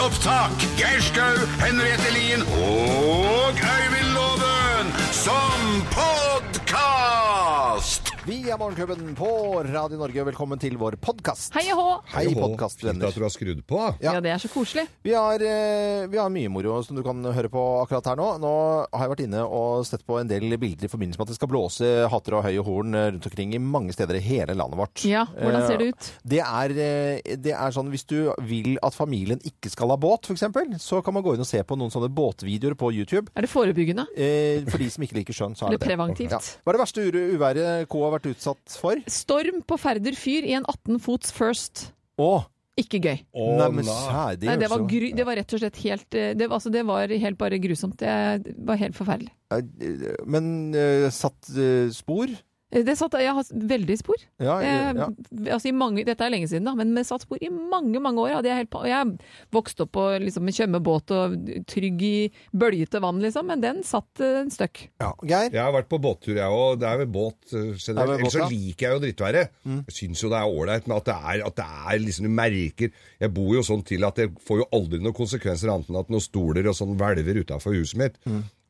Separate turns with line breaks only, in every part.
opptak. Geir Skau, Henriette Lien og Øyvind Loven som podkast!
Vi er Morgenklubben på Radio Norge, og velkommen til vår podkast.
Hei og hå!
Hei,
Åh, Fint
podkastvenner.
at du har skrudd på.
Ja. det er så koselig.
Vi, har, eh, vi har mye moro som du kan høre på akkurat her nå. Nå har jeg vært inne og sett på en del bilder i forbindelse med at det skal blåse hatter og høy og horn eh, rundt omkring i mange steder i hele landet vårt.
Ja, hvordan ser det ut?
Eh, Det er, eh, det er sånn hvis du vil at familien ikke skal ha båt, f.eks., så kan man gå inn og se på noen sånne båtvideoer på YouTube.
Er det forebyggende?
Eh, For de som ikke liker sjøen, så er
Eller
det det.
preventivt?
Ja. Hva er det verste ure- uværet K har vært utsatt for?
Storm på Færder fyr i en 18 fots first.
Å,
Ikke gøy.
Å,
nei, men altså. sæ,
nei.
det
Nei, det,
hørtes
var
jo-
gru, det var rett og slett helt eh, det, var- altså, det var helt bare grusomt. Det var helt forferdelig.
Men eh, satt eh, spor?
Eh, Det satt jeg har veldig spor.
Ja,
Eh,
ja.
altså, i mange, dette er lenge siden, da, men vi satt spor i mange mange år. Hadde jeg, helt, pa- og jeg vokste opp på liksom, en kjømmebåt og trygg i bølgete vann, liksom, men den satt eh, en støkk.
ja. Geir?
Jeg har vært på båttur, jeg òg. Det er vel båt
Er
eh,
det
generelt. Ellers så
båt, ja?
liker jeg jo drittværet. Jeg syns jo det er ålreit, men at det er, at det er liksom Du merker Jeg bor jo sånn til at det får jo aldri noen konsekvenser annet enn at noen stoler og sånn hvelver utafor huset mitt.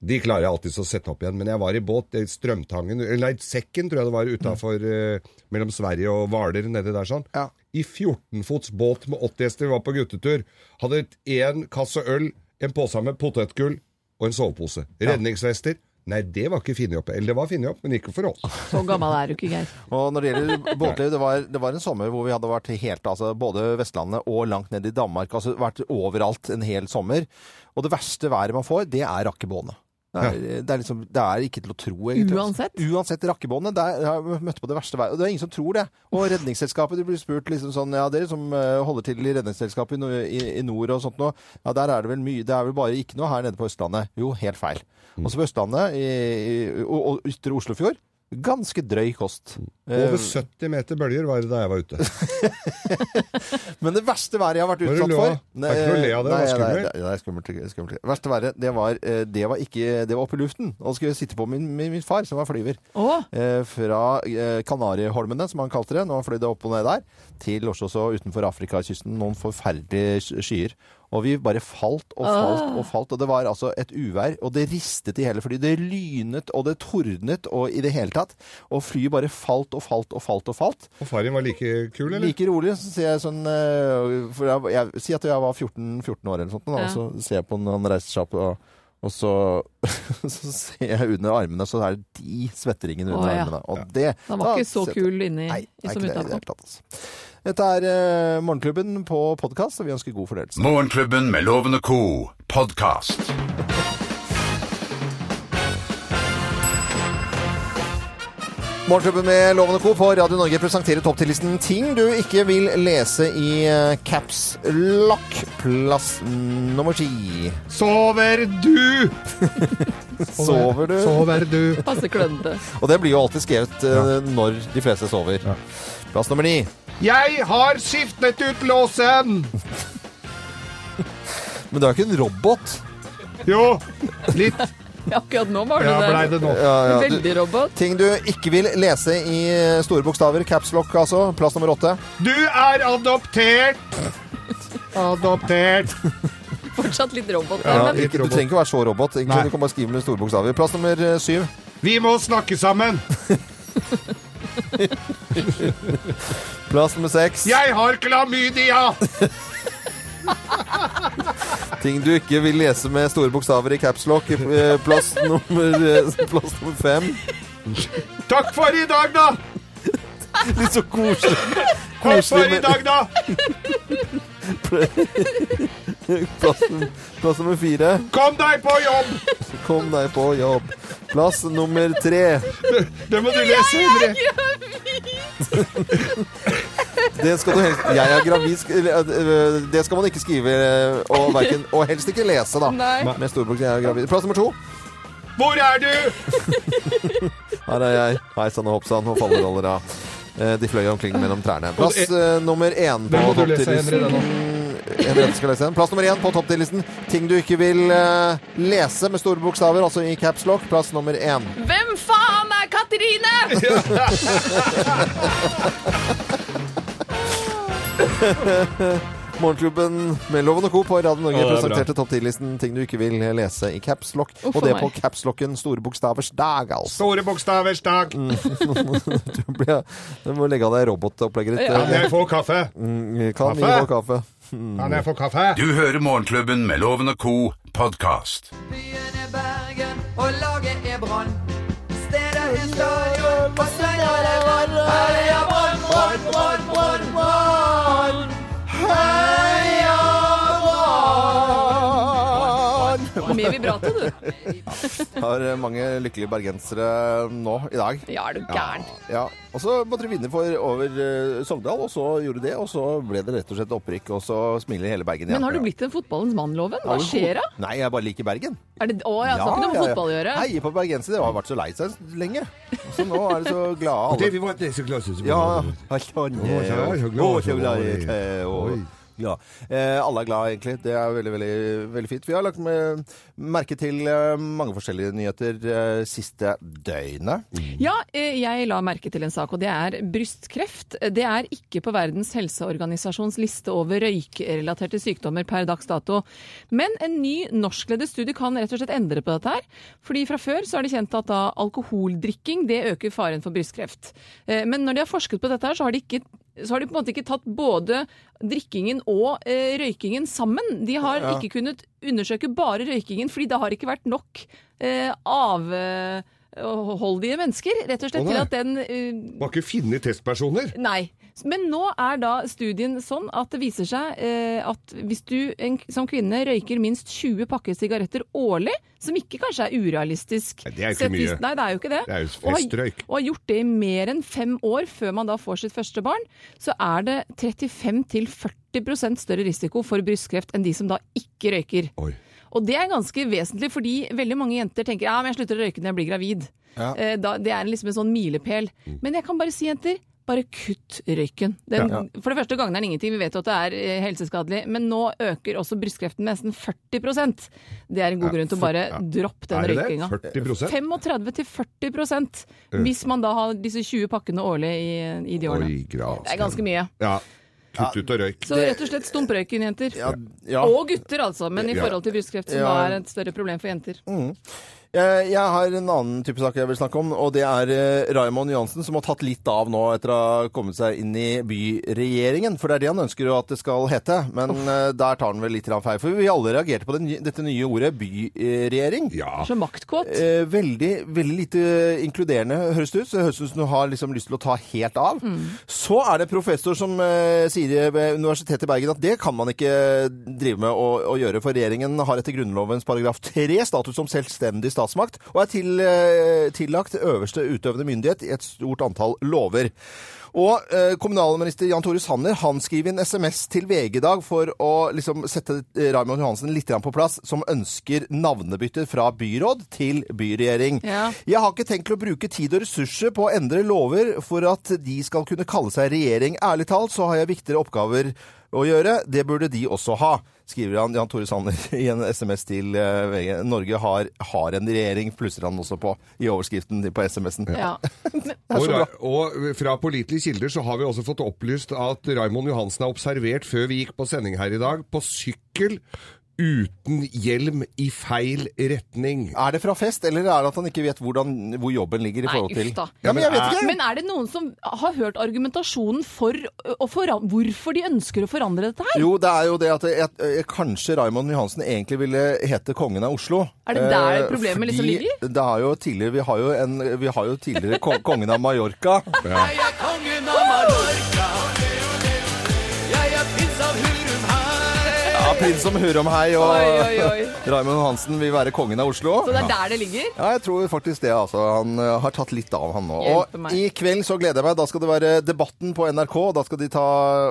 De klarer jeg alltid å sette opp igjen. Men jeg var i båt, det er Strømtangen eller Nei, Sekken tror jeg det var utafor mellom Sverige og Hvaler, nedi der sånn.
Ja.
I 14 fots båt med 80 hester, vi var på guttetur. Hadde én kasse øl, en pose med potetgull og en sovepose. Redningsvester. Nei, det var ikke funnet opp. Eller det var funnet opp, men ikke for oss.
Så gammel er du ikke, Geir.
Og når det gjelder båtliv, det var, det var en sommer hvor vi hadde vært helt, altså både Vestlandet og langt ned i Danmark, altså vært overalt en hel sommer. Og det verste været man får, det er rakkebåndet. Det er, det, er liksom, det er ikke til å tro, egentlig. altså.
Uansett?
Uansett rakkebåndet. Det er, jeg har møtt på det verste været. Og det er ingen som tror det. Og Redningsselskapet de blir spurt liksom sånn Ja, dere som eh, holder til i Redningsselskapet i, no- i, i nord og sånt noe, ja, der er det vel mye Det er vel bare ikke noe her nede på Østlandet. Jo, helt feil.
Mm.
Også på Østlandet i, i, og, og ytre Oslofjord. Ganske drøy kost.
Over 70 meter bølger var det da jeg var ute.
Eh, Men det verste været jeg har vært
Hva er det
utsatt
du
for
lo av? Det er ikke noe å le av det, det var
nei,
skummelt.
nei, det er skummelt. Det er skummelt. Det verste været, det var, eh, det var ikke Det var oppe i luften. Og så skulle jeg sitte på min, min, min far, som var flyver.
Å,
eh, Fra eh, Kanariholmene, som han kalte det, når han fløy det opp og ned der, til også så utenfor Afrikakysten. Noen forferdelige sk- skyer. Og vi bare falt og falt og falt. Og det var altså et uvær, og det ristet i hele flyet. Det lynet, og det tordnet, og i det hele tatt. Og flyet bare falt og falt og falt og falt.
Og faren var like kul, eller?
Like rolig, så ser jeg sånn eh, for jeg, jeg, Si at jeg var 14, 14 år eller sånt, da,
Ja.
og så ser jeg på når han reiser seg opp, og, og så, så ser jeg under armene, så er det de svetteringene under
Å, ja.
armene. Og det
han var
da
ikke så
setter-
kul inni
Nei, det er
som
ikke det i det
utenpå.
hele tatt. Altså. Dette er eh, Morgenklubben på podkast, og vi ønsker god fornøyelse.
Morgenklubben med Loven og co. podkast.
Morgenklubben med Loven og Co. på Radio Norge presenterer topptillisten ting du ikke vil lese i eh, caps lock, plass nummer ti.
Sover du!
Sover du?
Sover du.
Passe klønete.
Og det blir jo alltid skrevet eh, når de fleste sover. Plass nummer ni.
Jeg har skiftet ut låsen!
Men du er jo ikke en robot.
Jo, litt.
Akkurat nå var det
Ja, blei
der.
det nå.
Veldig robot.
Ting du ikke vil lese i eh, store bokstaver. Caps lock, altså. Plass nummer åtte.
Du er adoptert! Adoptert.
Fortsatt litt robot.
Ja,
Der, men
litt
ikke, du
robot.
trenger ikke være så robot. Egentlig,
Nei.
du kan bare skrive med store bokstaver. Plass nummer eh, syv.
Vi må snakke sammen.
Plass nummer seks.
Jeg har klamydia!
Ting du ikke vil lese med store bokstaver i caps lock. eh, Plass nummer, eh, plass nummer fem.
Takk for i dag, da!
Litt så koselig.
Takk for i
med-
dag, da!
Plass, plass nummer fire.
Kom deg på jobb!
Kom deg på jobb. Plass nummer tre.
Det må du lese, Henri.
Det skal du helst Jeg er gravid sk- eller, øh, Det skal man ikke skrive, øh, og, hverken, og helst ikke lese, da.
Nei.
Med storbok, jeg er gravid. Plass nummer to.
Hvor er du?
Her er jeg. Hei sann og hopp sann, og falleroller av. Eh, De fløy omkring mellom trærne. Plass øh, nummer én på
Den må du lese, Henri,
topptillisten.
den
Henriette skal lese den. Plass nummer én på topptillisten. Ting du ikke vil øh, lese med store bokstaver, altså i caps lock. Plass nummer én.
Hvem faen er Katrine?!
Morgenklubben med Loven og Co. på Radio Norge
Ja, det er
presenterte topp 10-listen ting du ikke vil øh, lese i caps lock.
Uff,
og det
meg.
på caps locken store bokstavers dag, altså.
Store bokstaver, stakk!
Mm. Du, blir- du må legge av deg robotopplegget ditt. eh,
Ja.
Kan jeg få kaffe?
Mm, Kan vi
Kaffe?
få kaffe?
Kan jeg få kaffe?
Du hører Morgenklubben med Loven og Co. podkast.
Byen er Bergen, og laget er Brann. Stedet er stadion, og stedet er Brann. Heia Brann, Brann, Brann, Brann, Brann! Heia Brann!
Med vibrato, du.
Har eh, mange lykkelige bergensere nå i dag.
Ja, er du gæren.
Ja, og så måtte de vinne for over eh, Sogndal, og så gjorde de det, og så ble det rett og slett opprykk, og så smiler hele Bergen igjen.
Men har du blitt en fotballens mann, Loven? Hva
Ja,
skjer da?
Nei, jeg bare liker Bergen.
Er det, å, ja, det har ikke noe med fotball å gjøre.
Heier på bergensere. Jeg har vært så lei seg lenge. Så nå er de så glade alle.
Det vi var det er så glad synes jeg.
Ja, sånn,
Å, så er jeg så glad.
å, så glad jeg er, og-
Oi.
ja. Eh, alle er glad, egentlig. Det er veldig, veldig, veldig fint. Vi har lagt med, merke til eh, mange forskjellige nyheter eh, siste døgnet.
Ja, eh, jeg la merke til en sak, og det er brystkreft. Det er ikke på Verdens helseorganisasjons liste over røykerelaterte sykdommer per dags dato. Men en ny norskledet studie kan rett og slett endre på dette her. Fordi fra før så er det kjent at da alkoholdrikking det øker faren for brystkreft. Eh, Men når de har forsket på dette her, så har de ikke så har de på en måte ikke tatt både drikkingen og eh, røykingen sammen. De har ikke kunnet undersøke bare røykingen, fordi det har ikke vært nok eh, av... Eh, holdige mennesker, rett og slett,
Å,
til
nei.
at den eh,
Var ikke finne testpersoner?
Nei. Men nå er da studien sånn at det viser seg eh, at hvis du en, som kvinne røyker minst 20 pakker sigaretter årlig, som ikke kanskje er urealistisk
Nei, det er jo ikke
sett i-
mye.
Nei, det er jo ikke det.
Det er jo
Og har-
festrøyk.
Og har gjort det i mer enn fem år før man da får sitt første barn, så er det 35-40 større risiko for brystkreft enn de som da ikke røyker.
Oi.
Og det er ganske vesentlig, fordi veldig mange jenter tenker ja, men jeg slutter å røyke når jeg blir gravid. Eh, Da, det er liksom en sånn milepæl.
Mm.
Men jeg kan bare si, jenter, bare kutt røyken. Den, For det første gagner den ingenting, vi vet jo at det er eh, helseskadelig, men nå øker også brystkreften med nesten 40 Det er en god grunn til å bare droppe den
Er det det?
røykinga.
40
35-40 hvis man da har disse 20 pakkene årlig i, i de årene.
Oi, grav.
Det er ganske mye.
Ja. Kutt ut og røyk.
Så rett og slett stump røyken, jenter.
Ja.
Og gutter, altså, men i
Ja.
forhold til brystkreft, som
Ja. Mm.
da er et større problem for jenter.
Eh, Jeg har en annen type sak jeg vil snakke om, og det er eh, Raymond Johansen som har tatt litt av nå etter å ha kommet seg inn i byregjeringen. For det er det han ønsker jo at det skal hete, men eh, der tar han vel litt grann feil. For vi alle reagerte på det ny- dette nye ordet byregjering.
Ja.
Så maktkåt.
Eh, veldig, veldig lite inkluderende, høres det ut. Så det høres ut som du har liksom lyst til å ta helt av. Så er det en professor som eh, sier ved Universitetet i Bergen at det kan man ikke drive med å, å gjøre, for regjeringen har etter Grunnlovens paragraf 3 status som selvstendig statsmakt, og er til, eh, tillagt øverste utøvende myndighet i et stort antall lover. Og eh, kommunalminister Jan Tore Sanner han skriver en SMS til VG i dag for å liksom, sette eh, Raymond Johansen litt grann på plass, som ønsker navnebytte fra byråd til byregjering.
Ja.
Jeg har ikke tenkt til å bruke tid og ressurser på å endre lover for at de skal kunne kalle seg regjering. Ærlig talt så har jeg viktigere oppgaver å gjøre. Det burde de også ha, skriver han Jan Tore Sanner i en SMS til eh, VG. Norge har, har en regjering, plusser han også på i overskriften på SMS-en.
Ja.
Og, Ra- og fra pålitelige kilder så har vi også fått opplyst at Raimond Johansen er observert før vi gikk på sending her i dag, på sykkel uten hjelm i feil retning.
Er det fra fest, eller er det at han ikke vet hvordan, hvor jobben ligger i
Nei,
forhold til
uff da.
Ja, men jeg vet ikke.
Men er det noen som har hørt argumentasjonen for, og foran- hvorfor de ønsker å forandre dette her?
Jo, det er jo det at jeg, jeg, kanskje Raimond Johansen egentlig ville hete kongen av Oslo.
Er det der
Eh,
problemet liksom
fordi
ligger?
Det er jo tidligere, vi har jo, en, vi har jo tidligere kong, kongen av Mallorca.
Jeg er kongen av Mallorca. Jeg er prins av Hurum her.
Ja, prins som hurrer om hei, og
Oi, oi, oi.
Raimond Johansen vil være kongen av Oslo.
Så det er der det ligger?
Ja, jeg tror faktisk det, altså. Han eh, har tatt litt av, han nå.
Hjelpe
Og
meg.
i kveld så gleder jeg meg. Da skal det være Debatten på NRK. og Da skal de ta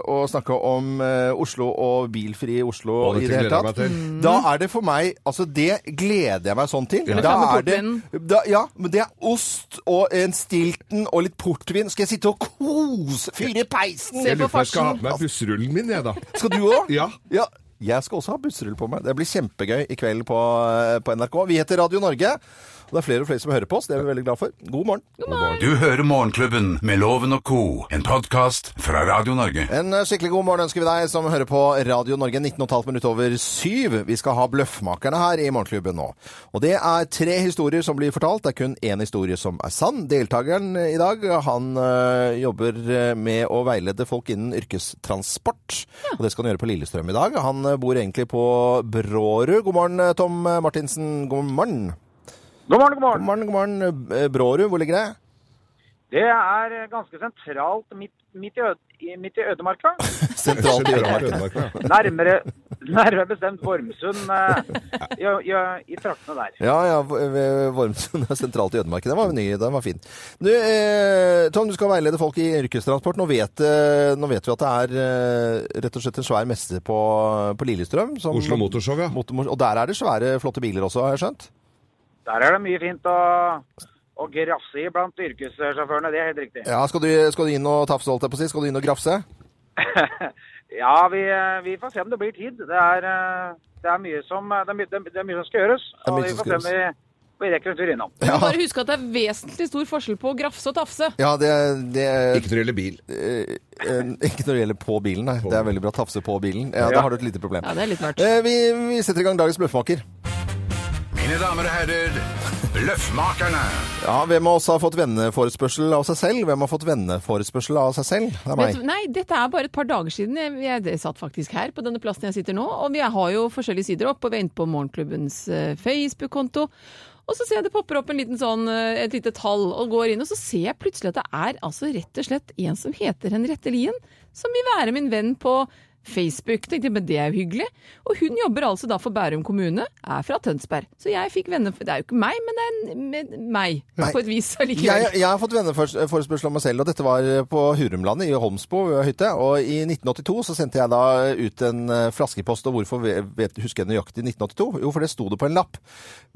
og snakke om eh, Oslo og bilfri Oslo
Å, dette
i det hele
gleder jeg
tatt.
meg til.
Da er det for meg Altså, det gleder jeg meg sånn til. Da er det
Reklameportvinen.
da, Ja, men det er ost og en Stilton og litt portvin. Skal jeg sitte og kose? Fyre i peisen?
Se
Jeg
på
lurer på om jeg skal ha
farsen.
på meg bussrullen min, jeg da.
Skal du òg?
Ja.
ja. eh, Jeg skal også ha bussrull på meg. Det blir kjempegøy i kveld på, på NRK. Vi heter Radio Norge, Og det er flere og flere som hører på oss, det er vi veldig glad for. God morgen.
Du hører Morgenklubben med Loven og co., en podkast fra Radio Norge.
En eh, skikkelig god morgen ønsker vi deg som hører på Radio Norge 19 15 minutt over syv. Vi skal ha Bløffmakerne her i Morgenklubben nå. Og det er tre historier som blir fortalt. Det er kun én historie som er sann. Deltakeren i dag, han øh, jobber med å veilede folk innen yrkestransport. Og det skal han gjøre på Lillestrøm i dag. Han øh, bor egentlig på Brårud. God morgen, eh, Tom Martinsen. God morgen.
God morgen, god
God
morgen.
morgen, god morgen. Eh, Brårud, hvor ligger det?
Det er eh, ganske sentralt midt, midt, i, øde, i- midt i ødemarka.
Sentralt i Ødemarken.
Ødemarken, ja.
Nærmere, nærmere bestemt Vormsund eh, i, i, i traktene der.
Ja, ja, v- v- Vormsund er sentralt i Ødemarken. Den var ny, den var fin. Du, eh, Tom, du skal veilede folk i yrkestransport. Nå vet, eh, nå vet vi at det er eh, rett og slett en svær messe på, på Lillestrøm. som-
Oslo Motorshow, ja.
Motor- og der er det svære, flotte biler også, har jeg skjønt?
Der er det mye fint å, å grasse i blant yrkessjåførene, det er helt riktig.
Ja, Skal du, skal du inn og tafse, holdt jeg på å si? Skal du inn og grafse?
Ja, vi, eh, vi får se om det blir tid. Det er, eh, det er, mye, som, eh, det er, mye, det er mye som skal gjøres.
er mye
Og vi
som
får
skal
se om vi, vi rekker en tur innom.
Du må bare huske at det er vesentlig stor forskjell på å grafse og tafse.
Ja, det, det
Ikke trille bil.
eh, eh, Ikke når det gjelder på bilen, nei. Det er veldig bra. Tafse på bilen. Ja, Da har du et lite problem.
Ja, det er litt mørkt.
Eh, Vi, vi setter i gang dagens bløffmaker.
Mine damer og herrer, Bløffmakerne.
Ja, Hvem av oss har fått venneforespørsel av seg selv? Hvem har fått venneforespørsel av seg selv? Det er
Vet
meg.
du- Nei, dette er bare et par dager siden. Jeg, jeg, jeg satt faktisk her på denne plassen jeg sitter nå, og vi har jo forskjellige sider opp, og vi er inne på Morgenklubbens eh, Facebook-konto. Og så ser jeg det popper opp en liten sånn, eh, et lite tall, og går inn, og så ser jeg plutselig at det er altså rett og slett en som heter Henriette Lien, som vil være min venn på Facebook. Tenkte jeg, men det er jo hyggelig. Og hun jobber altså da for Bærum kommune, er fra Tønsberg. Så jeg fikk venner for Det er jo ikke meg, men det er en, med, meg,
Nei.
på et vis allikevel.
Jeg, jeg har fått venneforespørsel om meg selv, og dette var på Hurumlandet i Holmsbo hytte. Og i 1982 så sendte jeg da ut en eh, flaskepost, og hvorfor ve- vet, husker jeg nøyaktig 1982? Jo, for det sto det på en lapp.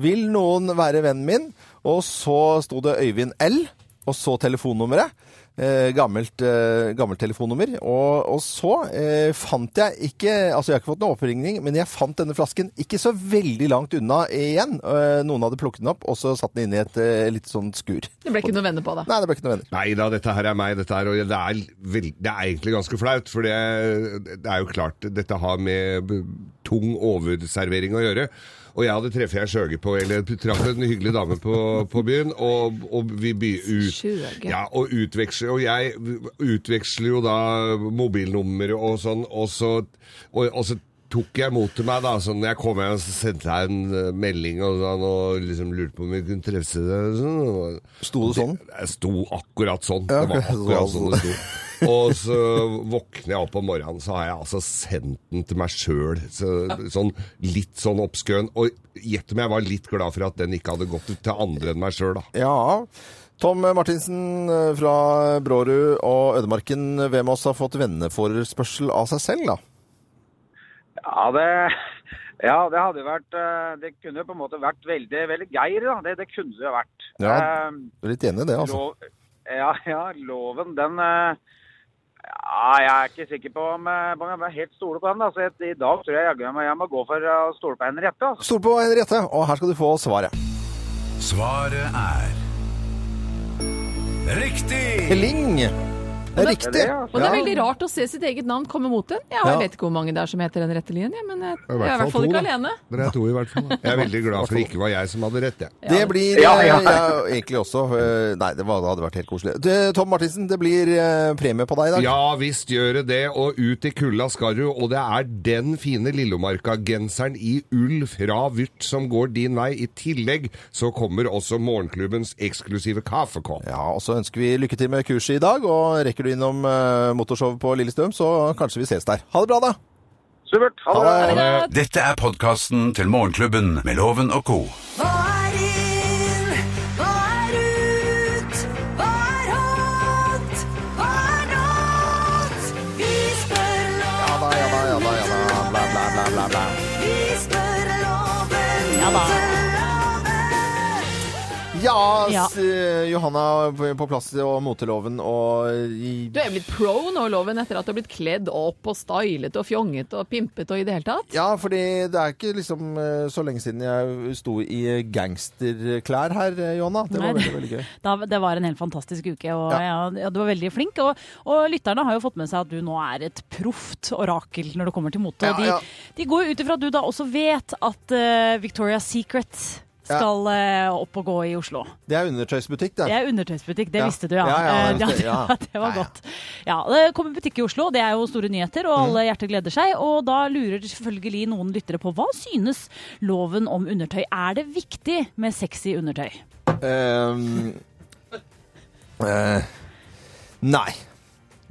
Vil noen være vennen min? Og så sto det Øyvind L, og så telefonnummeret. Eh, gammelt, eh, gammelt telefonnummer. Og, og så eh, fant jeg ikke Altså, jeg har ikke fått noen oppringning, men jeg fant denne flasken ikke så veldig langt unna igjen. Eh, noen hadde plukket den opp, og så satt den inne i et eh, litt sånt skur.
Det ble ikke noe venner på det.
Nei, det ble ikke noen venner.
Nei da, dette her er meg, dette her. Og det er, vel- det er egentlig ganske flaut, for det, det er jo klart dette har med b- tung overservering å gjøre. Og jeg hadde treffet ei skjøge på, eller traff en hyggelig dame på, på byen, og, og vi by ut...
Skjøge.
Ja, og utveksler Og jeg utveksler jo da mobilnummer og sånn, og så, og, og så tok jeg mot til meg da, sånn, jeg kom hjem og så sendte jeg en eh, melding og, sånn, og liksom lurte på om vi kunne treffe deg. Sånn.
Sto det sånn?
Det sto akkurat sånn.
Ja,
Det var akkurat
sånn.
sånn det sto. Og så våkner jeg opp om morgenen, så har jeg altså sendt den til meg sjøl. Så, sånn, litt sånn oppskøen. Og gjett om jeg var litt glad for at den ikke hadde gått til andre enn meg sjøl, da.
Ja. Tom Martinsen eh, fra Brårud og Ødemarken, hvem av oss har fått venneforespørsel av seg selv, da?
Ja, det, ja, det hadde jo vært eh, Det kunne jo på en måte vært veldig, veldig Geir, da. Det, det kunne det jo vært. Eh,
Ja. Jeg er Litt enig i det, altså.
Lov, ja, ja, loven, den eh, ja, Jeg er ikke sikker på om eh, om jeg helt stoler på den. Da. Så jeg, I dag tror jeg jaggu meg jeg må gå for å stole på Henriette. Altså.
Stol på Henriette, og her skal du få svaret.
Svaret er Riktig!
Pling! Det er riktig.
altså.
Og det er veldig rart å se sitt eget navn komme mot en. Ja,
Ja.
Jeg vet ikke hvor mange det er som heter den rette linjen, jeg, men jeg, jeg er i hvert fall ikke alene.
Dere er to, i hvert fall. da. Jeg er veldig glad for det ikke var jeg som hadde rett, jeg.
Det blir
Ja, ja.
eh, ja, egentlig også eh, Nei, det, var, det hadde vært helt koselig. Du, Tom Martinsen, det blir eh, premie på deg i dag.
Ja visst gjør det det, og ut i kulda skal du, og det er den fine Lillomarka-genseren i ull fra Vyrt som går din vei. I tillegg så kommer også morgenklubbens eksklusive kaffekopp.
Ja, og så ønsker vi lykke til med kurset i dag, og rekker du innom eh, motorshowet på Lillestrøm, så kanskje vi ses der. Ha det bra, da!
Supert. Ha det.
Ha det.
Dette er podkasten til Morgenklubben med Loven og co.
Hva er inn? Hva er ut? Hva er hot? Hva er not? Vi spør
Ja da, ja da, ja da, ja da. Bla, bla, bla, bla, bla.
Vi spør loven.
Ja da.
til loven.
Ja,
Ja.
s- eh, Johanna på på plass og moteloven og i
Du er blitt pro nå, Loven, etter at du har blitt kledd opp og stylet og fjonget og pimpet og i det hele tatt.
Ja, fordi det er ikke liksom eh, så lenge siden jeg sto i gangsterklær her, eh, Johanna. Det var
Nei.
veldig, veldig gøy.
Da, det var en helt fantastisk uke, og
Ja.
ja. ja, du var veldig flink. Og, og lytterne har jo fått med seg at du nå er et proft orakel når det kommer til mote.
Ja,
og de,
ja.
de går jo ut ifra at du da også vet at eh, Victoria's Secret skal eh, opp og gå i Oslo.
Det er undertøysbutikk, det.
Det er undertøysbutikk, det
Ja.
visste du, ja.
Ja, ja, det
Eh,
visste jeg, ja.
det, det var
Ja, ja.
godt. Ja, det kommer butikk i Oslo, det er jo store nyheter, og
Mm.
alle hjerter gleder seg. Og da lurer selvfølgelig noen lyttere på hva synes loven om undertøy? Er det viktig med sexy undertøy?
Ehm, eh, nei.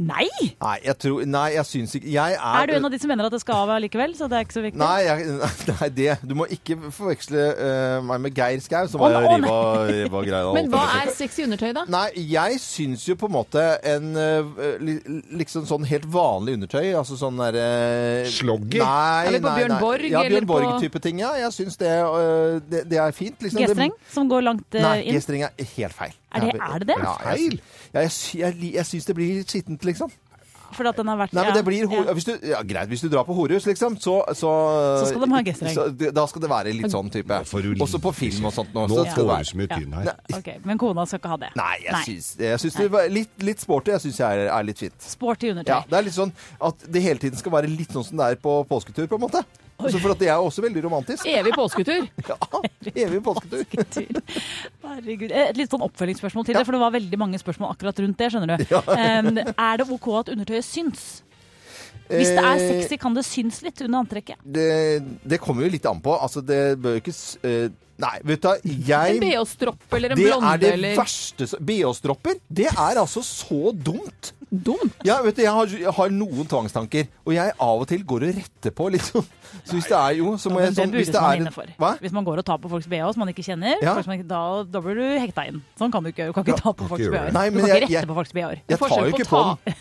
Nei!
Nei, jeg tror Nei, jeg syns ikke Jeg er
Er du en av de som mener at det skal av likevel, så det er ikke så viktig?
Nei, jeg, nei, det Du må ikke forveksle eh, meg med Geir Skau, som
Å,
var
å, nei.
riva, riva greia.
Men hva er sexy undertøy, da?
Nei, jeg syns jo på en måte en eh, li- liksom sånn helt vanlig undertøy. Altså sånn derre
Slogger?
Nei,
Eller på
nei,
Bjørn
nei.
Borg,
Ja,
eller
Bjørn
på-
Borg-type ting, ja. Jeg syns det, eh, det, det er fint. Liksom. Det-
G-streng som går langt eh,
Nei,
inn?
G-streng er helt feil.
Er det- er det det?
Ja, jeg, ja, jeg, sy- jeg, li- jeg syns det blir litt skittent, liksom.
Fordi at den har vært
Nei, men
ja,
det blir ho
ja.
hvis du, ja, Greit, hvis du drar på horehus, liksom, så Så,
Så skal de ha G-streng.
så- det- Da skal det være litt sånn type.
får du
Også på film og sånt. Nå,
Nå
så skal det
får du
være.
så mye tynn her.
Ok, Men kona skal ikke ha det?
Nei, jeg syns, jeg syns det var litt, litt sporty. Jeg syns jeg er, er litt fint.
Sporty undertøy.
Ja, det er litt sånn at det hele tiden skal være litt sånn som det er på påsketur, på en måte. Også for at det er også veldig romantisk.
Evig påsketur.
Ja, evig påsketur.
Herregud. Eh, Et litt sånn oppfølgingsspørsmål til det, for det var veldig mange spørsmål akkurat rundt det, skjønner du. Em, er det OK at undertøyet syns? Hvis det er
Eh,
sexy, kan det syns litt under antrekket.
Det, det kommer jo litt an på. Altså, det bør jo ikke s- eh, Nei, vet du hva. Jeg
En BH-stropp eller en
Det er
blonde
det
eller
verste som- BH-stropper, det er altså så dumt.
Dumt.
Ja, vet du, jeg har, jeg har noen tvangstanker, og jeg av og til går og retter på, liksom. Så hvis det er jo, så må
Men
jeg
det
sånn
burde
hvis det
man
er
inne
en,
for.
Hva?
Hvis man går og tar på folks BH som man ikke kjenner,
Ja.
folk som ikke, da, da blir du hekta inn. Sånn kan du ikke gjøre. Du kan ikke ta på folks
gjøre
BH-er.
det.
Du
Nei,
kan
men
ikke
jeg-
rette
jeg-
på folks BH-er.
Jeg tar jo ikke på den.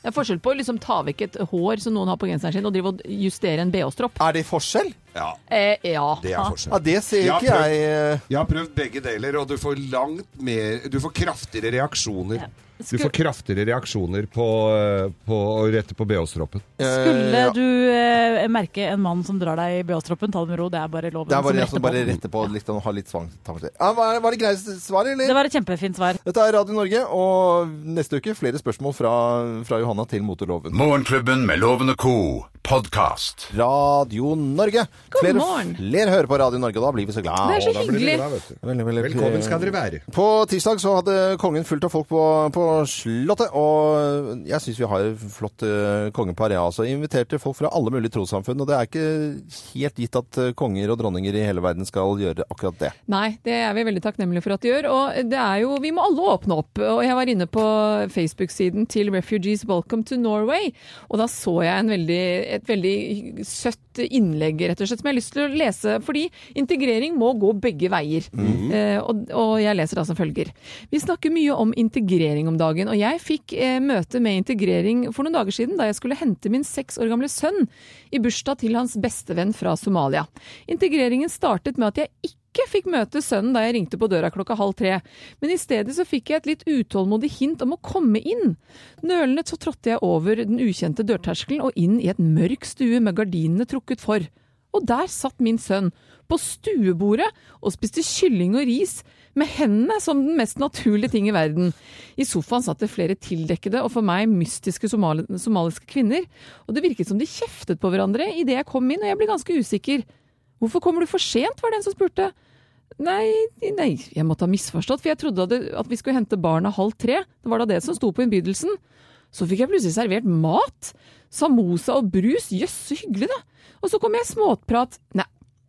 Det er forskjell på å liksom ta vekk et hår som noen har på genseren sin, og drive og justere en BH-stropp.
Er det forskjell?
Ja,
Eh, ja.
det er forskjell.
Ja, det ser
Ja,
ikke
prøv.
jeg eh,
Jeg har prøvd begge deler, og du får langt mer Du får kraftigere reaksjoner. Du får kraftigere reaksjoner på, eh, på å rette på BH-stroppen.
Skulle
eh,
du eh, merke en mann som drar deg i BH-stroppen, ta det med ro. Det er bare loven
Det er bare jeg
retter
som
på
bare
den.
retter på litt og har litt tvangstanker. Ja, var, var det greie svar, eller?
Det var et kjempefint svar.
Dette er Radio Norge, og neste uke flere spørsmål fra, fra Johanna til motorloven.
Morgenklubben med Loven og co. podkast.
Radio Norge.
God
flere,
morgen.
Flere hører på Radio Norge, og da blir vi så glad.
Det er så
Da blir du
hyggelig.
glad, vet du.
Veldig, veldig-
Velkommen skal dere være.
På tirsdag så hadde kongen fullt av folk på, på Slottet, og jeg syns vi har en flott eh, konge på area. Så inviterte folk fra alle mulige trossamfunn, og det er ikke helt gitt at eh, konger og dronninger i hele verden skal gjøre akkurat det.
Nei, det er vi veldig takknemlige for at de gjør. Og det er jo, vi må alle åpne opp. Og jeg var inne på Facebook-siden til Refugees Welcome to Norway, og da så jeg en veldig, et veldig søtt innlegg, rett og slett, som jeg har lyst til å lese. Fordi integrering må gå begge veier. Eh, og, og jeg leser da som følger. Vi snakker mye om integrering om dagen, og jeg fikk eh, møte med integrering for noen dager siden da jeg skulle hente min seks år gamle sønn i bursdag til hans bestevenn fra Somalia. Integreringen startet med at jeg ikke ikke fikk møte sønnen da jeg ringte på døra klokka halv tre, men i stedet så fikk jeg et litt utålmodig hint om å komme inn. Nølende så trådte jeg over den ukjente dørterskelen og inn i et mørk stue med gardinene trukket for. Og der satt min sønn, på stuebordet, og spiste kylling og ris, med hendene som den mest naturlige ting i verden. I sofaen satt det flere tildekkede og for meg mystiske somali somaliske kvinner, og det virket som de kjeftet på hverandre idet jeg kom inn, og jeg ble ganske usikker. Hvorfor kommer du for sent, var det en som spurte. Nei, nei, jeg måtte ha misforstått, for jeg trodde at, det, at vi skulle hente barna halv tre. Det var da det som sto på innbydelsen. Så fikk jeg plutselig servert mat. Samosa og brus, jøss, så hyggelig da. Og så kom jeg i småprat. Nei,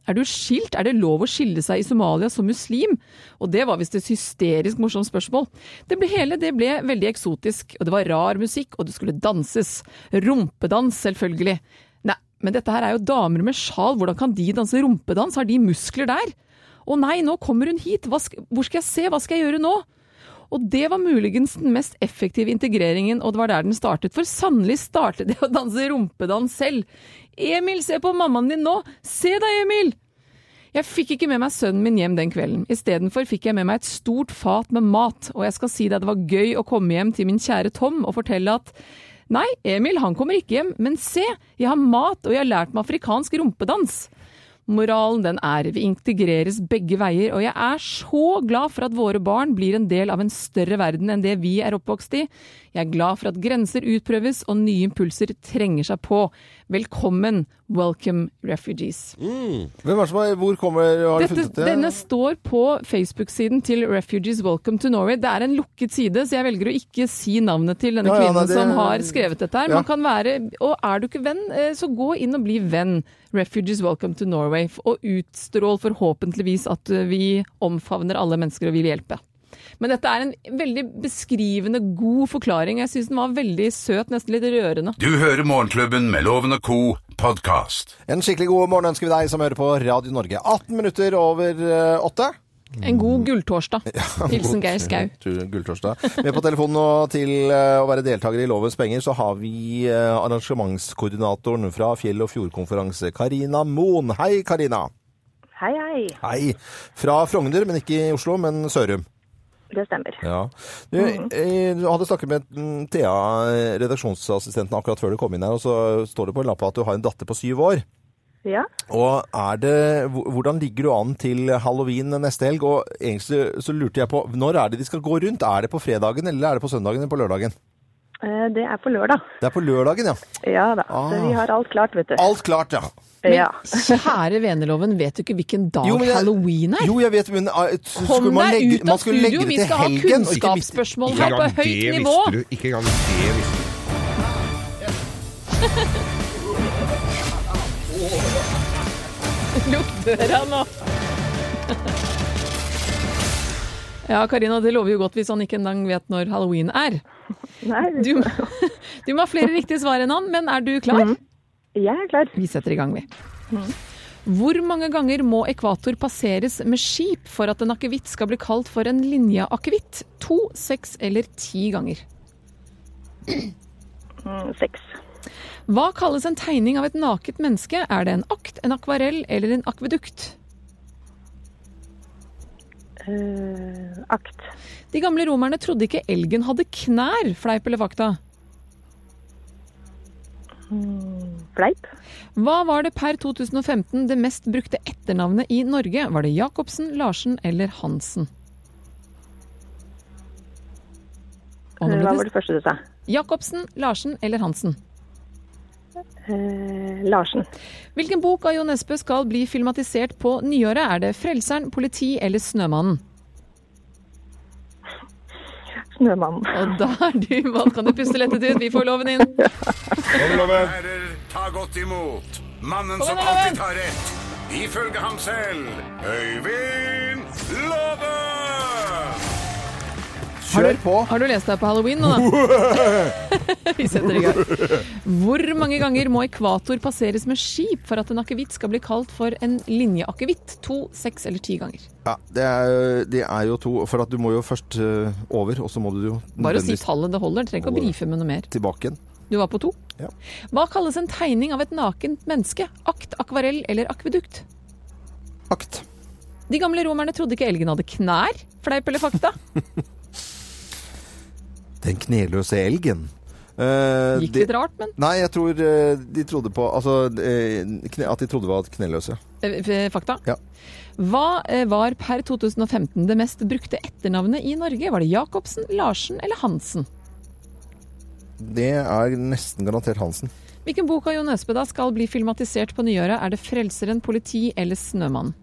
er du skilt? Er det lov å skille seg i Somalia som muslim? Og det var visst et hysterisk morsomt spørsmål. Det ble hele det ble veldig eksotisk, og det var rar musikk, og det skulle danses. Rumpedans, selvfølgelig. Nei, men dette her er jo damer med sjal, hvordan kan de danse rumpedans? Har de muskler der? Å nei, nå kommer hun hit, Hva sk hvor skal jeg se, hva skal jeg gjøre nå? Og det var muligens den mest effektive integreringen, og det var der den startet. For sannelig startet det å danse rumpedans selv. Emil, se på mammaen din nå! Se deg, Emil! Jeg fikk ikke med meg sønnen min hjem den kvelden. Istedenfor fikk jeg med meg et stort fat med mat, og jeg skal si deg det var gøy å komme hjem til min kjære Tom og fortelle at nei, Emil han kommer ikke hjem, men se, jeg har mat og jeg har lært meg afrikansk rumpedans. Moralen den er vi integreres begge veier, og jeg er så glad for at våre barn blir en del av en større verden enn det vi er oppvokst i. Jeg er glad for at grenser utprøves og nye impulser trenger seg på. Velkommen, welcome refugees.
Hvem er det som har, hvor kommer har du
Dette,
funnet det?
denne står på Facebook-siden til Refugees Welcome to Norway. Det er en lukket side, så jeg velger å ikke si navnet til denne
Ja, ja,
kvinnen
nei, det-
som har skrevet dette her.
Ja.
Man kan være, og er du ikke venn, eh, så gå inn og bli venn. Refugees Welcome to Norway. f- Og utstrål forhåpentligvis at eh, vi omfavner alle mennesker og vil hjelpe. Men dette er en veldig beskrivende god forklaring. Jeg syns den var veldig søt, nesten litt rørende.
Du hører Morgenklubben med Loven og Co. podkast.
En skikkelig god morgen ønsker vi deg som hører på Radio Norge. 18 minutter over eh, åtte.
En god gulltorsdag. Hilsen Geir Skau.
Mm. Tur- Gulltorsdag. Med på telefonen nå til eh, å være deltaker i Lovens penger, så har vi eh, arrangementskoordinatoren fra Fjell- og fjordkonferanse, Karina Moen. Hei, Karina.
Hei, hei.
Hei. Fra Frogner, men ikke i Oslo, men Sørum.
Det stemmer.
Ja. Du, eh, du hadde snakket med mm, Thea, eh, redaksjonsassistenten, akkurat før du kom inn her, og så står det på en lapp at du har en datter på syv år.
Ja.
Og er det, hvor- hvordan ligger du an til halloween neste helg? Og egentlig så- så lurte jeg på, når er det de skal gå rundt? Er det på fredagen, eller er det på søndagen eller på lørdagen?
eh, Det er på lørdag.
Det er på lørdagen, ja.
Ja da.
Ah.
Så vi har alt klart, vet du.
Alt klart, ja.
Ja.
Kjære veneloven, vet du ikke hvilken dag
men jeg-
halloween er?
Jo, jeg vet, men ah, t-
Kom
skulle man
deg
legge,
ut av studio, vi skal ha
og ikke midt i-
kunnskapsspørsmål her på høyt
det
nivå.
visste du. Ikke engang det visste du.
Lukk døra nå. Ja, Karina, det lover jo godt hvis han ikke engang vet når halloween er.
Nei,
Du, du må ha flere riktige svar enn han, men er du klar?
jeg er klar.
Vi setter i gang, vi. Hvor mange ganger må ekvator passeres med skip for at en akevitt skal bli kalt for en linjeakevitt? To, seks eller ti ganger?
Mm, Seks.
Hva kalles en tegning av et naket menneske? Er det en akt, en akvarell eller en akvedukt?
Eh, akt.
De gamle romerne trodde ikke elgen hadde knær, fleip eller fakta.
Fleip.
Hva var det per 2015 det mest brukte etternavnet i Norge? Var det Jacobsen, Larsen eller Hansen? Og nå
Eh,
ble
Hva
det-
var det første du sa?
Jacobsen, Larsen eller Hansen?
Eh, Larsen.
Hvilken bok av Jo Nesbø skal bli filmatisert på nyåret? Er det 'Frelseren', 'Politi' eller 'Snømannen'?
Snømannen.
Og da er du valgt. Kan du puste lettet ut? Vi får loven inn.
Kom, Loven.
Herrer, ta godt imot mannen
Kom
som
igjen,
alltid
Loven!
tar rett, ifølge ham selv, Øyvind Låve!
Kjør på.
Har du lest deg på halloween nå, da? Vi setter i gang. Hvor mange ganger må ekvator passeres med skip for at en akevitt skal bli kalt for en linjeakevitt? To, seks eller ti ganger?
Ja, det er, det er jo to, for at du må jo først eh, over, og så må du jo
Bare å si
nødvendigvis
tallet, det holder. Trenger ikke å brife med noe mer.
tilbake igjen.
Du var på to.
Ja.
Hva kalles en tegning av et nakent menneske? Akt, akvarell eller akvedukt?
Akt.
De gamle romerne trodde ikke elgen hadde knær. Fleip eller fakta?
Den kneløse elgen. Eh,
Gikk
det-
litt rart, men
Nei, jeg tror eh, de trodde på Altså eh, kne, at de trodde var kneløse.
eh, f- fakta.
Ja.
Hva eh, var per 2015 det mest brukte etternavnet i Norge? Var det Jacobsen, Larsen eller Hansen?
Det er nesten garantert Hansen.
Hvilken bok av Jo Nesbø da skal bli filmatisert på nyåret? Er det 'Frelseren', 'Politi' eller 'Snømannen'?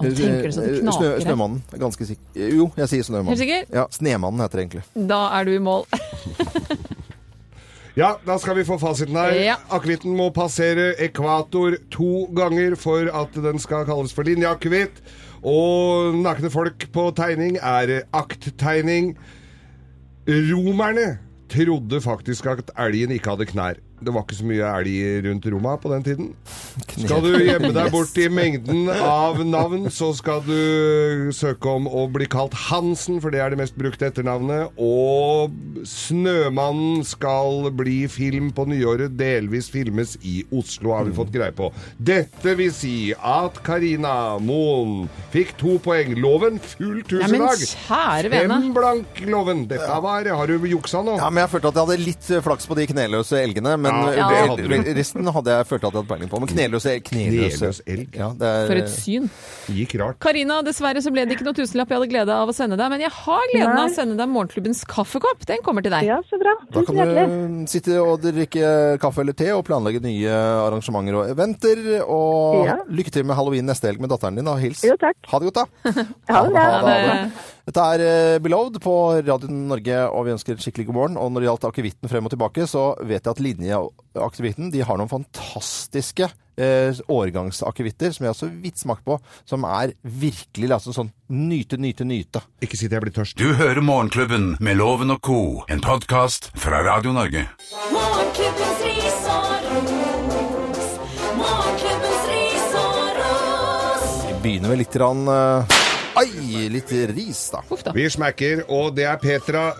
Å, nå tenker du så det
Eh,
knaker
Snø,
her.
snømannen. Jeg er Ganske sikker. Jo, jeg sier Snømannen.
Helt sikker?
Ja, Snemannen heter det egentlig.
Da er du i mål.
Eh.
Ja, da skal vi få fasiten her.
Ja.
Akevitten må passere ekvator to ganger for at den skal kalles for linjeakevitt. Og nakne folk på tegning er akttegning. Romerne trodde faktisk at elgen ikke hadde knær. Det var ikke så mye elg rundt Roma på den tiden. Skal du gjemme deg bort i mengden av navn, så skal du søke om å bli kalt Hansen, for det er det mest brukte etternavnet. Og Snømannen skal bli film på nyåret, delvis filmes i Oslo, har vi fått greie på. Dette vil si at Karina Moen fikk to poeng. Loven fullt hus
Nei,
i
men
dag.
kjære vene.
Fem blank, Loven. Dette var Har du juksa nå?
Ja, men Jeg følte at jeg hadde litt eh, flaks på de kneløse elgene. Men
Ja,
eh,
det
vel-
hadde du.
resten hadde jeg følt at jeg hadde peiling på. Men kneløse, kneløse.
Kneløs elg.
Ja, det er,
For et syn.
Gikk rart.
Karina, dessverre så ble det ikke noe tusenlapp jeg hadde glede av å sende deg, men jeg har gleden av å sende deg morgenklubbens kaffekopp. Den kommer til deg.
Ja, så bra.
Da
Tusen
kan du
hjertelig.
eh, sitte og drikke kaffe eller te og planlegge nye arrangementer og eventer. Og
Ja.
lykke til med halloween neste helg med datteren din, og hils.
Jo, takk.
Ha det godt, da.
Ha det
Ha
bra.
det, ha det. Dette er eh, Beloved på Radio Norge, og vi ønsker skikkelig god morgen. Og når det gjaldt akevitten frem og tilbake, så vet jeg at linjeakevitten de har noen fantastiske eh, årgangsakevitter som jeg har så vidt smakt på, som er virkelig altså, sånn nyte, nyte, nyte.
Ikke sitt jeg blir tørst.
Du hører Morgenklubben med Loven og Co., en podkast fra Radio Norge.
Morgenklubbens ris og ros. Morgenklubbens ris og ros.
Vi begynner med litt grann, eh, Ai, litt ris, da.
Uff da.
Vi smekker, og det er Petra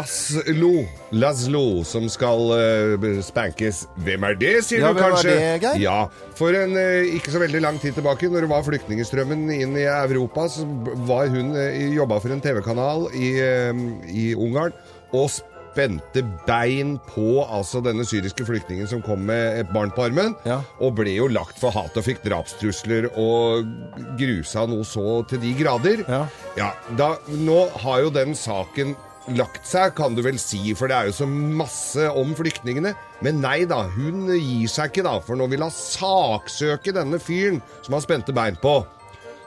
Laszlo, Laszlo som skal eh, spankes. Hvem er det, sier
Ja,
du
hvem er
kanskje?
det, Geir?
Ja, For en eh, ikke så veldig lang tid tilbake, når det var flyktningstrømmen inn i Europa, så b- var hun eh, i- jobba for en TV-kanal i, eh, i Ungarn og spente bein på altså denne syriske flyktningen som kom med et barn på armen,
Ja.
og ble jo lagt for hat og fikk drapstrusler og grusa noe så til de grader.
Ja.
Ja, da, nå har jo den saken lagt seg, kan du vel si, for det er jo så masse om flyktningene. Men nei da, hun gir seg ikke da, for nå vil hun saksøke denne fyren som har spente bein på.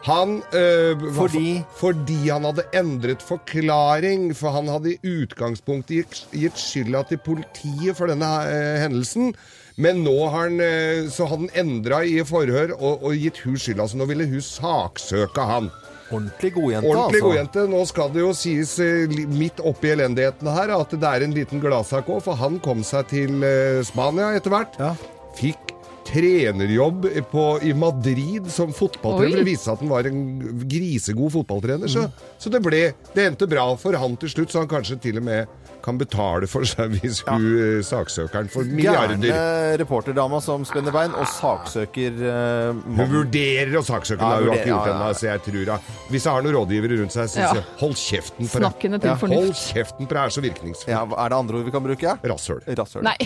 Han, øh, hva for-
Fordi?
fordi han hadde endret forklaring, for han hadde i utgangspunktet gitt, gitt skylda til politiet for denne øh, hendelsen. Men nå har han, øh, så hadde han endra i forhør og, og gitt hun skylda, så nå ville hun saksøke han.
Ordentlig godjente,
Ordentlig
altså.
godjente. Nå skal det jo sies eh, li- midt oppi elendigheten her at det er en liten gladsak òg, for han kom seg til eh, Spania etter hvert.
Ja.
Fikk trenerjobb på, i Madrid som fotballtrener.
Oi.
Det viste seg at han var en grisegod fotballtrener, så, så det ble Det endte bra for han til slutt, så han kanskje til og med kan betale for seg hvis hun eh, saksøker han for milliarder.
Gjerne reporterdama som spenner bein og saksøker eh,
Hun
mannen.
vurderer å saksøke,
Ja,
ja, hun har
vurderer,
ikke gjort
ja,
det
ja.
ennå, så jeg tror da. Hvis jeg har noen rådgivere rundt seg, så
Ja.
sier jeg hold kjeften. For det-
Snakkende til
ja,
fornuft.
Hold kjeften, for det er så virkningsfullt.
Ja, er det andre ord vi kan bruke?
Rasshøl.
Rasshøl.
Nei.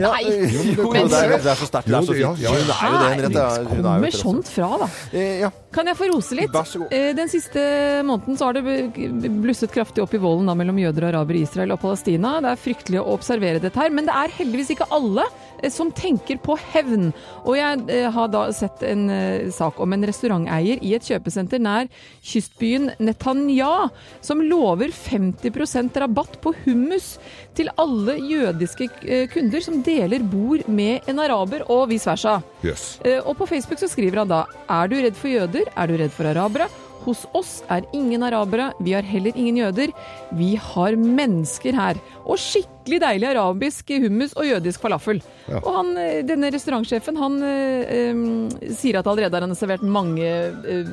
Ja,
Nei.
Jo, jo,
Men-
det, er, det er så sterkt. Det er så
Jo, ja,
fint.
ja, ja.
Hun er jo det, en rett. ja. Hun er jo
Kommer
et
sånt fra, da.
rasshøl. Eh, Ja.
Kan jeg få rose litt?
Vær så god.
Eh, Den siste måneden så har det b- blusset kraftig opp i volden da, mellom jøder og arabere i Israel og Palestina. Det er fryktelig å observere dette her, men det er heldigvis ikke alle eh, som tenker på hevn. Og jeg eh, har da sett en eh, sak om en restauranteier i et kjøpesenter nær kystbyen Netanya, som lover 50 rabatt på hummus til alle jødiske eh, kunder som deler bord med en araber, og vice versa.
Jøss.
Eh, Og på Facebook så skriver han da Er du redd for jøder? Er du redd for arabere? Hos oss er ingen arabere, vi har heller ingen jøder. Vi har mennesker her. Og skikkelig deilig arabisk hummus og jødisk falafel. Og han, eh, denne restaurantsjefen han eh, em, sier at allerede har han servert mange eh,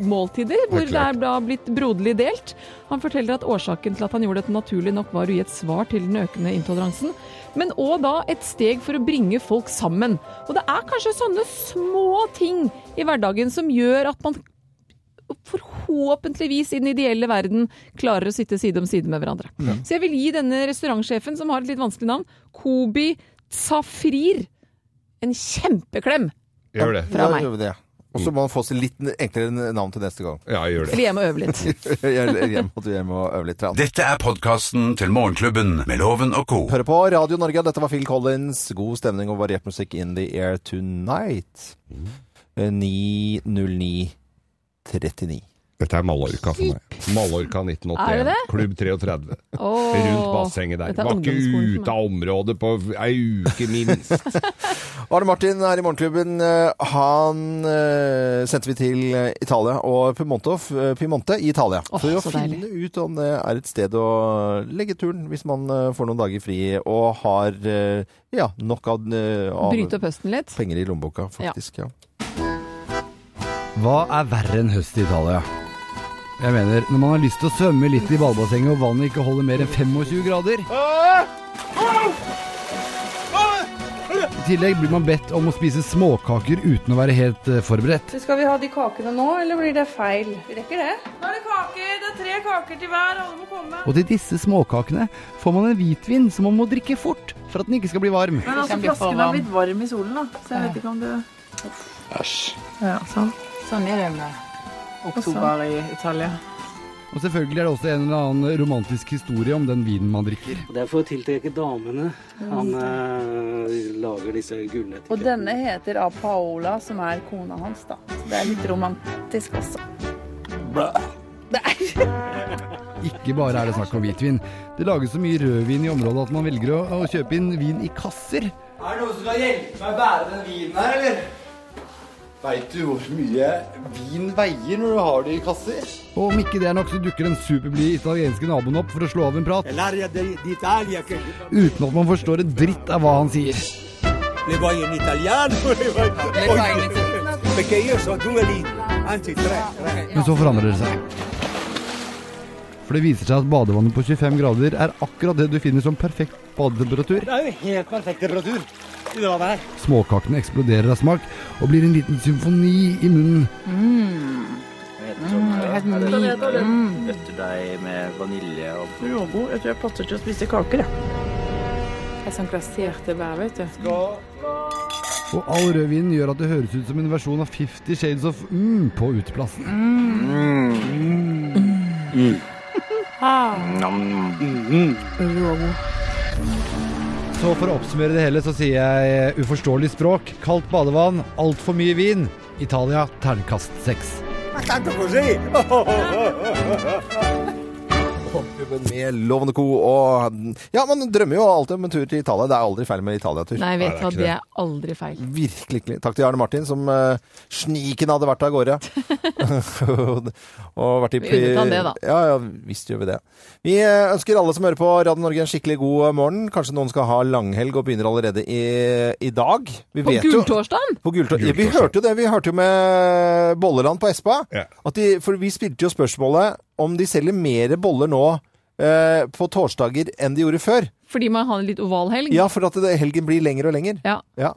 måltider, hvor det er da blitt broderlig delt. Han forteller at årsaken til at han gjorde dette naturlig nok var å gi et svar til den økende intoleransen, men òg da et steg for å bringe folk sammen. Og det er kanskje sånne små ting i hverdagen som gjør at man forhåpentligvis i den ideelle verden klarer å sitte side om side med hverandre. Så jeg vil gi denne restaurantsjefen, som har et litt vanskelig navn, Kobi Safrir, en kjempeklem.
Gjør det.
Fra
Da
meg.
gjør vi det. Og så må man få seg litt enklere navn til neste gang.
Ja, jeg gjør det.
Eller hjem og øve litt.
Eller hjem og hjem og øve litt. Trent.
Dette er podkasten til Morgenklubben med Loven og Co.
Hør på Radio Norge. Dette var Phil Collins. God stemning og variert musikk in the air
Mm.
tonight. Eh, 9.09.39.
Dette er Mallorca for meg. Mallorca 1981.
Er det det?
Klubb 33.
Åh,
Rundt bassenget der.
dette er
Var ikke
ungdomsskolen for
ute av området på ei uke minst.
Arne Martin er i Morgenklubben. Eh, Han eh, sendte vi til eh, Italia og Piemonte, eh, Piemonte i Italia.
Åh,
for å
så
finne
deilig.
ut om det er et sted å legge turen hvis man eh, får noen dager fri og har eh, ja, nok av, eh, av
Bryte opp høsten litt.
penger i lommeboka, faktisk. Ja.
Hva er verre enn høst i Italia? Jeg mener, når man har lyst til å svømme litt i ballbassenget og vannet ikke holder mer enn 25 grader I tillegg blir man bedt om å spise småkaker uten å være helt eh, forberedt.
Skal vi ha de kakene nå, eller blir det feil? Vi rekker det. Nå er det kaker. Det er tre kaker til hver. Alle må komme.
Og til disse småkakene får man en hvitvin som man må drikke fort for at den ikke skal bli varm.
Men altså, flasken har blitt varm i solen, da. Så jeg vet ikke om du Æsj. Ja, sånn. Sånn er det med oktober i Italia.
Og selvfølgelig er det også en eller annen romantisk historie om den vinen man drikker.
Det er for å tiltrekke damene han eh, lager disse gullnettikene.
Og denne heter A Paola, som er kona hans, da. Så det er litt romantisk også.
Ikke bare er det snakk om hvitvin. Det lages så mye rødvin i området at man velger å, å kjøpe inn vin i kasser.
Er det noen som kan hjelpe meg å bære den vinen her, eller? Veit du hvor mye vin veier når du har det i kasser?
Og om ikke det er nok, så dukker den superblide italienske naboen opp for å slå av en prat, uten at man forstår en dritt av hva han sier. Men så forandrer det seg. For det viser seg at badevannet på 25 grader er akkurat det du finner som perfekt badetemperatur.
Det er jo helt perfekt temperatur i det vannet her.
Småkakene eksploderer av smak og blir en liten symfoni i munnen.
Råbo. Jeg tror jeg passer til å spise kaker, jeg. Jeg er sånn glaserte bær, vet du.
Og all rødvinen gjør at det høres ut som en versjon av Fifty Shades of mm på uteplassen. Så for å oppsummere det hele så sier jeg uforståelig språk, kaldt badevann, altfor mye vin. Italia terningkast seks.
Morgenklubben med Lovende Co. Og ja, man drømmer jo alltid om en tur til Italia. Det er aldri feil med Italia-tur.
Nei, vet du hva,
ikke
det er aldri feil.
Virkelig. ikke. Takk til Arne Martin, som eh, sniken hadde vært av gårde. og vært i
Vi unnet han det, da.
Ja, ja, visst gjør vi det. Vi eh, ønsker alle som hører på Radio Norge en skikkelig god eh, morgen. Kanskje noen skal ha langhelg og begynner allerede i, i dag. Vi
På
vet jo-
gultorsdagen!
på Gulltor- Ja, vi
Gulltorsdag.
hørte jo det. Vi hørte jo med eh, Bolleland på Espa.
Ja.
At de, for vi spilte jo spørsmålet om de selger mer boller nå eh, på torsdager enn de gjorde før.
Fordi man har en litt oval helg.
Ja, for at det, helgen blir lengre og lenger.
Ja.
Ja.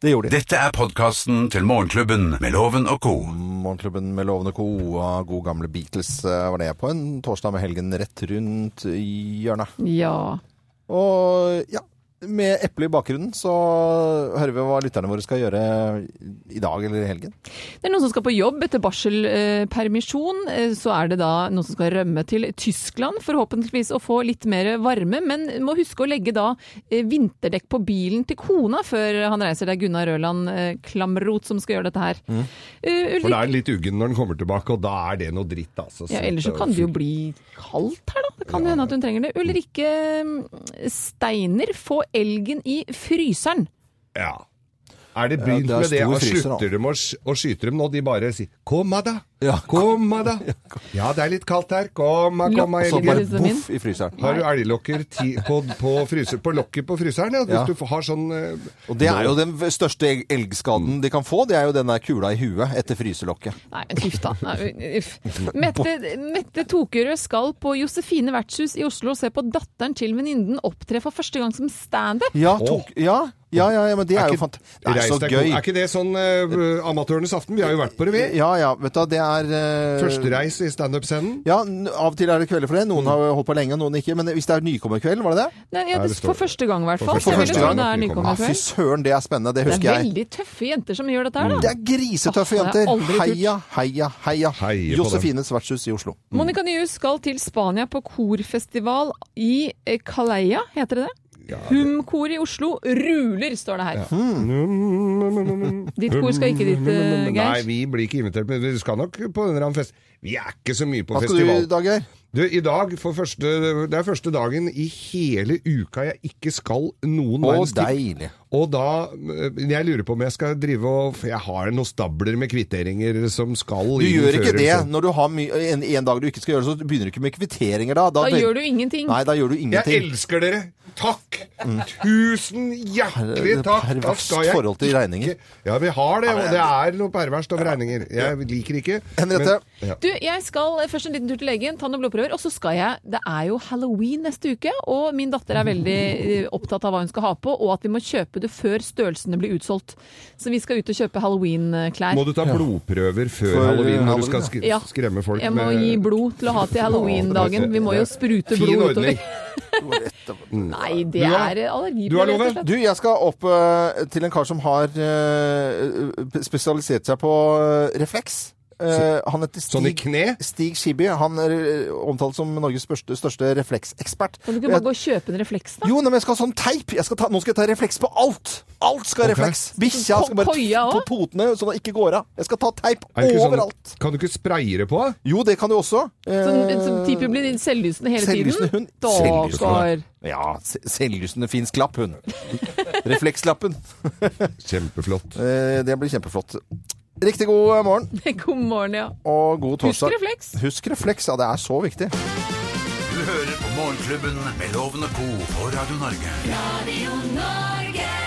Det gjorde de.
Dette er podkasten til Morgenklubben med Loven og co.
Morgenklubben med Lovende Co. og God gamle Beatles eh, var det på en torsdag med helgen rett rundt i hjørnet.
ja.
Og ja, med eple i bakgrunnen så hører vi hva lytterne våre skal gjøre i dag eller i helgen.
Det er noen som skal på jobb etter barselpermisjon. Eh, Så er det da noen som skal rømme til Tyskland, forhåpentligvis, og få litt mer varme. Men må huske å legge da eh, vinterdekk på bilen til kona før han reiser. Det er Gunnar Røland eh, Klamrot som skal gjøre dette her. Eh,
For da
Ulrik,
er den litt uggen når den kommer tilbake, og da er det noe dritt, altså.
ja, ellers så kan det jo bli kaldt her, da. Det kan jo hende at hun trenger det. Ulrikke eh, Steiner, få elgen i fryseren.
Ja. Er det
det
begynt
er
med det?
stor
Og
fryser, da.
slutter de å, sk- å skyte dem nå? De bare sier 'komma da',
Ja.
'komma da'. Ja, det er litt kaldt her. Komma, komma,
Lokk,
Så bare
elgen.
Helgen.
boff i fryseren.
Har du elglokker ti, på, på, fryser, på lokket på fryseren? Ja. Hvis
Ja.
du f- har sånn eh,
Og det er jo den største elg- elgskaden de kan få. Det er jo den der kula i huet etter fryselokket.
Nei, huff da. Nei, uff. Mette, Mette Tokerød skal på Josefine vertshus i Oslo og se på datteren til venninnen opptre for første gang som standup.
Ja, tok, ja, ja, ja, ja, men det er, jo
ikke-
fant... Det er
reis
så
deg,
gøy.
Er ikke det sånn eh, amatørenes aften? Vi har jo vært på det, vi.
Ja, ja, vet du, hva, det er eh,
Førstereis i standup-scenen.
Ja, n- av og til er det kvelder for det. Noen har holdt på lenge, og noen ikke. Men hvis det er nykommerkveld, var det det?
Nei, ja,
Nei,
det,
det står-
for første gang, i hvert fall.
For
Så jeg vil
første
tro
gang
Det
at
er
vi kommer.
Ja, fy
nykommerkveld.
søren, det er spennende. Det
Det
husker
er
jeg. Mm.
veldig tøffe jenter som gjør dette her,
Det
da.
er grisetøffe
Åh, det er
jenter.
aldri kult.
Heia, heia, heia.
Heie på dem.
Josefines vertshus i Oslo.
Monica Nyhus skal til Spania på korfestival i eh, Calella, heter det det? Humkor i Oslo ruler, står det her.
Mm,
Ditt kor skal ikke dit, eh,
Nei,
Geir.
vi blir ikke invitert, men vi skal nok på en eller annen fest. Vi er ikke så mye på
Hva skal du
festival.
i dag, Geir?
Du, i dag, for første, det er første dagen i hele uka jeg ikke skal noen
Å,
verdens ting.
deilig.
Og da, øh, jeg lurer på om jeg skal drive og, for jeg har noen stabler med kvitteringer som skal
Du
inn
gjør ikke
før-
det. Når du har my en, en dag du ikke skal gjøre det, så begynner du ikke med kvitteringer da.
Da
vel-
gjør du ingenting.
Nei, da gjør du ingenting.
Jeg elsker dere. Takk. Tusen hjertelig
Mm. Det er
takk. Da
perverst
skal jeg
forhold til regninger.
ikke- Ja, vi har det,
Ja,
og
men-
det er noe perverst over regninger. Jeg liker ikke.
Henriette.
men- ja.
Du, jeg skal eh, først en liten tur til legen, ta noen blodprøver, og så skal jeg Det er jo halloween neste uke, og min datter er veldig eh, opptatt av hva hun skal ha på, og at vi må kjøpe det før størrelsene blir utsolgt. Så vi skal ut og kjøpe halloween-klær.
Må du ta blodprøver før
Før
halloween når du
eh, halloween,
skal
ja.
skre-
Ja.
skremme folk
Jeg må
med
gi blod til å ha til halloween-dagen. Vi må jo sprute
Fin
blod
ordning.
utover. Nei, det
Du har-
er allergiprøver, rett og slett.
Du, jeg skal opp eh, til en kar som har eh, spesialisert seg på eh, refleks. Eh, han heter Stig,
Sånn i kne?
Stig Skibby. Han er eh, omtalt som Norges største, største refleksekspert.
Kan du ikke bare gå og kjøpe en refleks, da?
Jo, nei, men jeg skal ha sånn teip! Jeg skal ta, nå skal jeg ta refleks på alt! Alt skal ha
Ok.
refleks! Bikkja
På-
skal bare
koia
på
også?
potene, så den ikke går av. Jeg skal ta teip
Er det ikke sånn-
overalt.
Kan du ikke spraye det på?
Jo, det kan du også.
Sånn,
Eh,
sånn type blir selvlysende hele
Selvlysende
tiden?
hund.
Stakkar.
Ja, se- selvlysende fins klapp, hun. Reflekslappen.
Kjempeflott.
Eh, Det blir kjempeflott. Riktig god morgen
God morgen, ja.
og god
Husk
torsdag.
refleks.
Husk refleks, ja. Det er så viktig.
Du hører på Morgenklubben med Loven og Co. på Radio Norge.
Radio Norge.